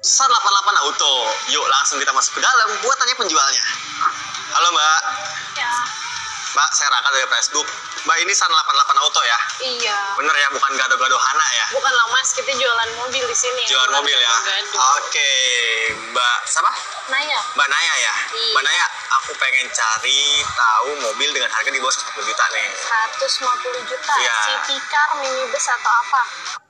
188 Auto. Yuk langsung kita masuk ke dalam buat tanya penjualnya. Halo Mbak. Ya, Mbak, saya Raka dari Facebook. Mbak, ini 188 Auto ya? iya. Bener ya, bukan gado-gado Hana ya? Bukan lah mas, kita jualan mobil di sini. Jualan Bukan mobil ya? gado. Oke, Mbak. Siapa? Naya, Mbak Naya ya? Iya. Mbak Naya, aku pengen cari tahu mobil dengan harga di bawah 10 juta nih. 150 juta. Iya. City car, minibus atau apa?